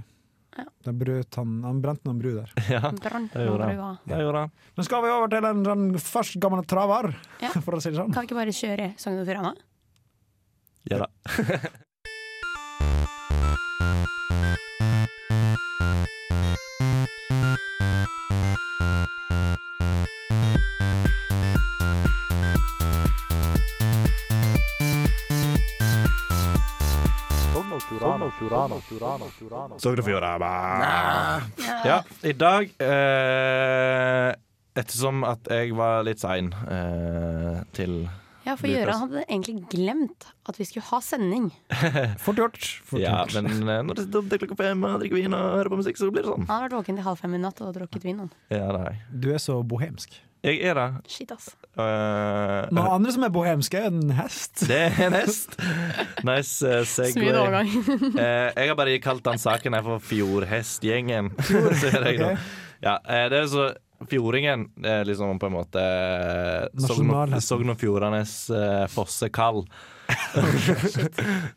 Speaker 10: Da brøt han, han brente noen bru der.
Speaker 9: Ja,
Speaker 7: Brant det gjorde noen han. brua.
Speaker 10: Nå skal vi over til en, en først gammel traver,
Speaker 7: Ja.
Speaker 10: for å si det sånn.
Speaker 7: Kan vi ikke bare kjøre Sogn og Fjordane?
Speaker 9: Ja da. Sogn og Fjordane. Ja, i dag eh, Ettersom at jeg var litt sein eh, til
Speaker 7: Ja, for
Speaker 9: Bluepress.
Speaker 7: Gøran hadde egentlig glemt at vi skulle ha sending.
Speaker 10: Fort gjort.
Speaker 9: ja, men eh, når det sitter opp til klokka fem og drikker vin og hører på musikk, så blir det sånn.
Speaker 7: Han har vært våken til halv fem i natt og drukket vin. han.
Speaker 9: Ja, det er jeg.
Speaker 10: Du er så bohemsk.
Speaker 9: Jeg er det.
Speaker 7: Shit, ass.
Speaker 9: Eh,
Speaker 10: Noen andre som er bohemske, er en hest.
Speaker 9: det er en hest. Nice eh, segway.
Speaker 10: Smid
Speaker 7: nou,
Speaker 10: overgang.
Speaker 9: Eh, jeg har bare kalt den saken her for Fjordhestgjengen. Så er det jeg nå. ja, eh, det er så Fjordingen det er liksom på en måte eh, Sogn og-
Speaker 10: Nasjonalhesten.
Speaker 9: Sogn og Fjordanes eh, fossekall.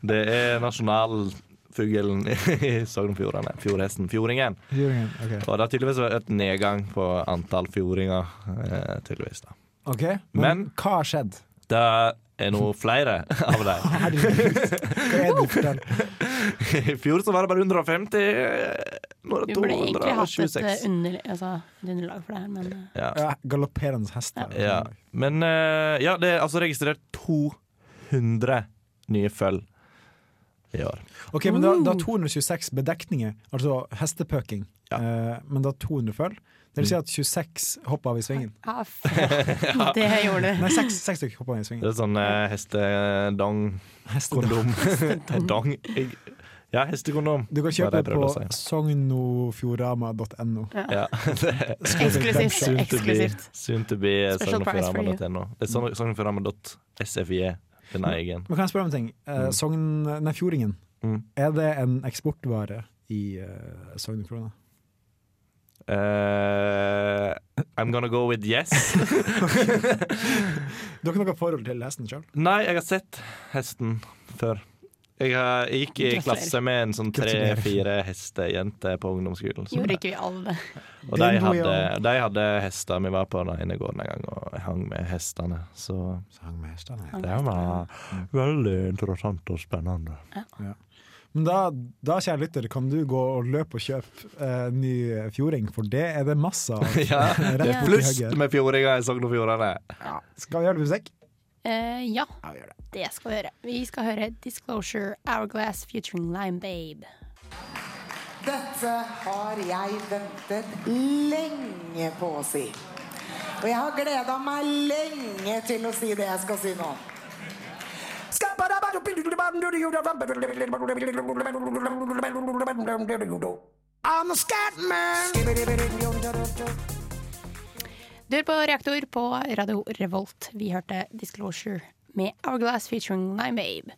Speaker 9: det er nasjonalfuglen i Sogn og Fjordane. Fjordhesten. Fjordingen.
Speaker 10: Fjordingen, ok.
Speaker 9: Og det har tydeligvis vært et nedgang på antall fjordinger. Eh, tydeligvis da
Speaker 10: Ok, Men,
Speaker 9: Men
Speaker 10: hva har skjedd?
Speaker 9: det er nå flere av dem.
Speaker 10: Hva er det du forteller?
Speaker 9: I fjor så var det bare 150. Nå er
Speaker 7: Vi
Speaker 9: det
Speaker 7: burde egentlig hatt et
Speaker 9: 226.
Speaker 7: eh, under, altså, et underlag for det her, men eh,
Speaker 9: Ja.
Speaker 10: Galopperende hest. her.
Speaker 9: Ja. Men eh, ja, det er altså registrert 200 nye føll i år.
Speaker 10: Ok, men da, da 226 bedekninger, altså hestepøking, eh, men da 200 føll. Det vil si at 26 hopper av i svingen.
Speaker 7: ja, f- det gjorde det.
Speaker 10: Nei, 6, stykker hopper av i
Speaker 9: Det
Speaker 10: svingen.
Speaker 9: er sånn eh, hestedong. Kondom. Dong. Jeg- Ja, hestekondom.
Speaker 10: Du kan
Speaker 9: var det
Speaker 10: kjøpe det
Speaker 9: jeg
Speaker 10: på
Speaker 9: prøvde å si. sognofjorama.no.
Speaker 7: Ja.
Speaker 9: det-
Speaker 7: Eksklusivt,
Speaker 9: Soon to be-
Speaker 7: eksklusivt.
Speaker 9: Soon to be eh,
Speaker 10: Special price for you. Mm.
Speaker 9: sognofjorama.no. Eh, sogn- Sognofjorama.sfie. E, Den er egen.
Speaker 10: Men kan jeg spørre om en ting? Eh,
Speaker 9: Mm.
Speaker 10: Sogn, nei, Fjordingen,
Speaker 9: Mm.
Speaker 10: er det en eksportvare i eh, Sogn og Krona?
Speaker 9: Eh, I'm gonna go with yes.
Speaker 10: Du har ikke noe forhold til hesten sjøl?
Speaker 9: Nei, jeg har sett hesten før. Jeg, har, jeg gikk i
Speaker 7: Gratulerer.
Speaker 9: klasse med en sånn
Speaker 7: Gratulerer.
Speaker 9: tre-fire hestejente på ungdomsskolen. så-
Speaker 7: Gjorde ikke vi alle det?
Speaker 9: Og de hadde, de hadde hester. Vi var på den ene gården en gang og jeg hang med hestene. Så,
Speaker 10: hang med hestene,
Speaker 7: ja.
Speaker 9: Det var veldig interessant og spennende.
Speaker 10: Ja. Men da, da, kjære lytter, kan du gå og løpe og kjøpe eh, ny fjording, for det er det masse av.
Speaker 9: ja,
Speaker 10: Rett
Speaker 9: det er
Speaker 10: borti
Speaker 9: flust
Speaker 10: høyre.
Speaker 9: med fjordinger i Sogn og Fjordane.
Speaker 10: Skal vi gjøre det musikk?
Speaker 7: Eh, ja,
Speaker 10: gjør
Speaker 7: det. skal vi gjøre. Vi skal høre Disclosure Hourglass featuring Lime Babe.
Speaker 2: Dette har jeg ventet lenge på å si. Og jeg har gleda meg lenge til å si det jeg skal si nå.
Speaker 18: I'm a scat man.
Speaker 7: Du hører på Reaktor på Radio Revolt. Vi hørte Disclosure med Hourglass featuring Lime Babe.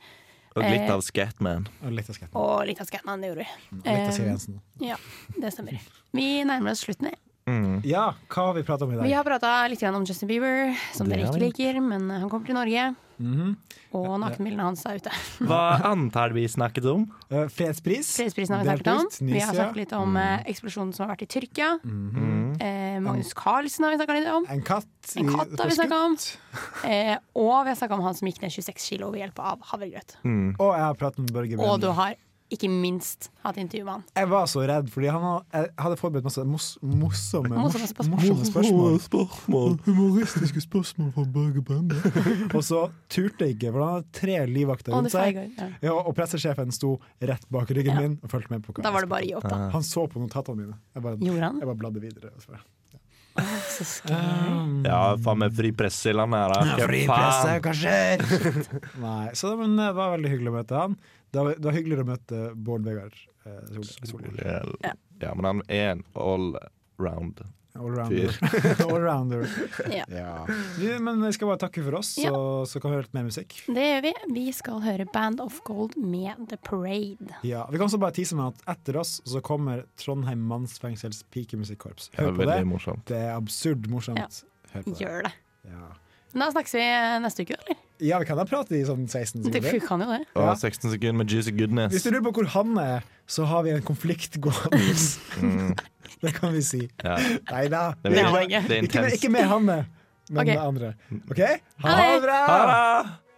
Speaker 9: Og litt
Speaker 7: Eh,
Speaker 9: av Scatman.
Speaker 10: Og litt av Scatman.
Speaker 7: Og litt av Scatman, det gjorde vi.
Speaker 9: Og litt av Siv
Speaker 7: Eh,
Speaker 9: Jensen.
Speaker 7: Ja, det stemmer. Vi nærmer oss slutten. jeg.
Speaker 9: mm.
Speaker 10: Ja, hva har vi prata om i dag?
Speaker 7: Vi har prata litt grann om Justin Bieber, som
Speaker 10: Det
Speaker 7: dere
Speaker 10: har
Speaker 7: ikke
Speaker 10: vi.
Speaker 7: liker, men han kommer til Norge.
Speaker 10: Mhm.
Speaker 7: Og nakenbildene hans er ute.
Speaker 9: Hva antall vi snakket om?
Speaker 10: Eh, Fredspris.
Speaker 7: Fredsprisen har vi snakket om. Vi har snakket litt om eh, eksplosjonen som har vært i Tyrkia.
Speaker 10: Mhm.
Speaker 7: Eh, Magnus Carlsen har vi snakka litt om.
Speaker 10: En katt.
Speaker 7: En
Speaker 10: i-
Speaker 7: katt har
Speaker 10: på
Speaker 7: vi snakka om.
Speaker 10: skutt.
Speaker 7: Eh, og vi har snakka om han som gikk ned 26 kilo ved hjelp av havregrøt.
Speaker 10: Og jeg har pratet med Børge
Speaker 7: Og du
Speaker 10: Brende.
Speaker 7: har ikke minst hatt intervju med han.
Speaker 10: Jeg var så redd, fordi han hadde, jeg hadde forberedt masse mos, morsomme, mors,
Speaker 7: Morsomme spørsmål.
Speaker 10: morsomme spørsmål.
Speaker 9: spørsmål.
Speaker 10: Humoristiske spørsmål fra Børge Brende. og så turte jeg ikke, for han hadde tre livvakter
Speaker 7: Å,
Speaker 10: rundt
Speaker 7: det
Speaker 10: seg.
Speaker 7: feiger, ja.
Speaker 10: Ja, og pressesjefen sto rett bak ryggen min og fulgte med. på hva
Speaker 7: Da var det
Speaker 10: jeg
Speaker 7: bare å
Speaker 10: spurte
Speaker 7: gi opp,
Speaker 10: om.
Speaker 7: da.
Speaker 10: Han så på notatene mine. Jeg bare,
Speaker 7: Gjorde han?
Speaker 10: Jeg bare bladde videre. og så bare-
Speaker 7: Så scary.
Speaker 9: Ja, faen meg fri presse i landet her. da. Hva faen?
Speaker 10: Nei, så det, men, eh, det var veldig hyggelig å møte han. Det var, det var hyggeligere å møte Bård Vegar eh, Sol- Solhjell.
Speaker 9: Ja. Ja, men han er en allround
Speaker 10: Allrounder. Allrounder.
Speaker 7: Ja.
Speaker 10: Du, men vi skal bare takke for oss,
Speaker 7: Ja.
Speaker 10: så, så kan vi høre litt mer musikk.
Speaker 7: Det gjør vi. Vi skal høre Band of Gold med The Parade.
Speaker 10: Ja, Vi kan også bare tise med at etter oss så kommer Trondheim mannsfengsels pikemusikkorps.
Speaker 9: Ja,
Speaker 10: Hør på det.
Speaker 9: veldig morsomt.
Speaker 10: Det er absurd
Speaker 7: Ja.
Speaker 10: morsomt. Hør på det.
Speaker 7: Gjør det.
Speaker 10: Ja.
Speaker 7: Men da snakkes vi eh, neste uke, eller?
Speaker 10: ja, vi kan da prate i sånn 16
Speaker 7: Du
Speaker 10: sekunder.
Speaker 7: kan jo det.
Speaker 9: Og 16 sekunder med juicy goodness.
Speaker 10: Hvis du lurer på hvor han er, så har vi en konflikt gående.
Speaker 9: Mm.
Speaker 10: det kan vi si.
Speaker 9: Ja.
Speaker 10: Nei da.
Speaker 9: Det er veldig- Det er
Speaker 10: Ikke,
Speaker 9: intenst.
Speaker 10: ikke med Hanne, men
Speaker 9: Ok.
Speaker 10: med andre. OK? Ha
Speaker 9: Ha
Speaker 10: det
Speaker 9: det.
Speaker 10: bra!
Speaker 9: Ha det!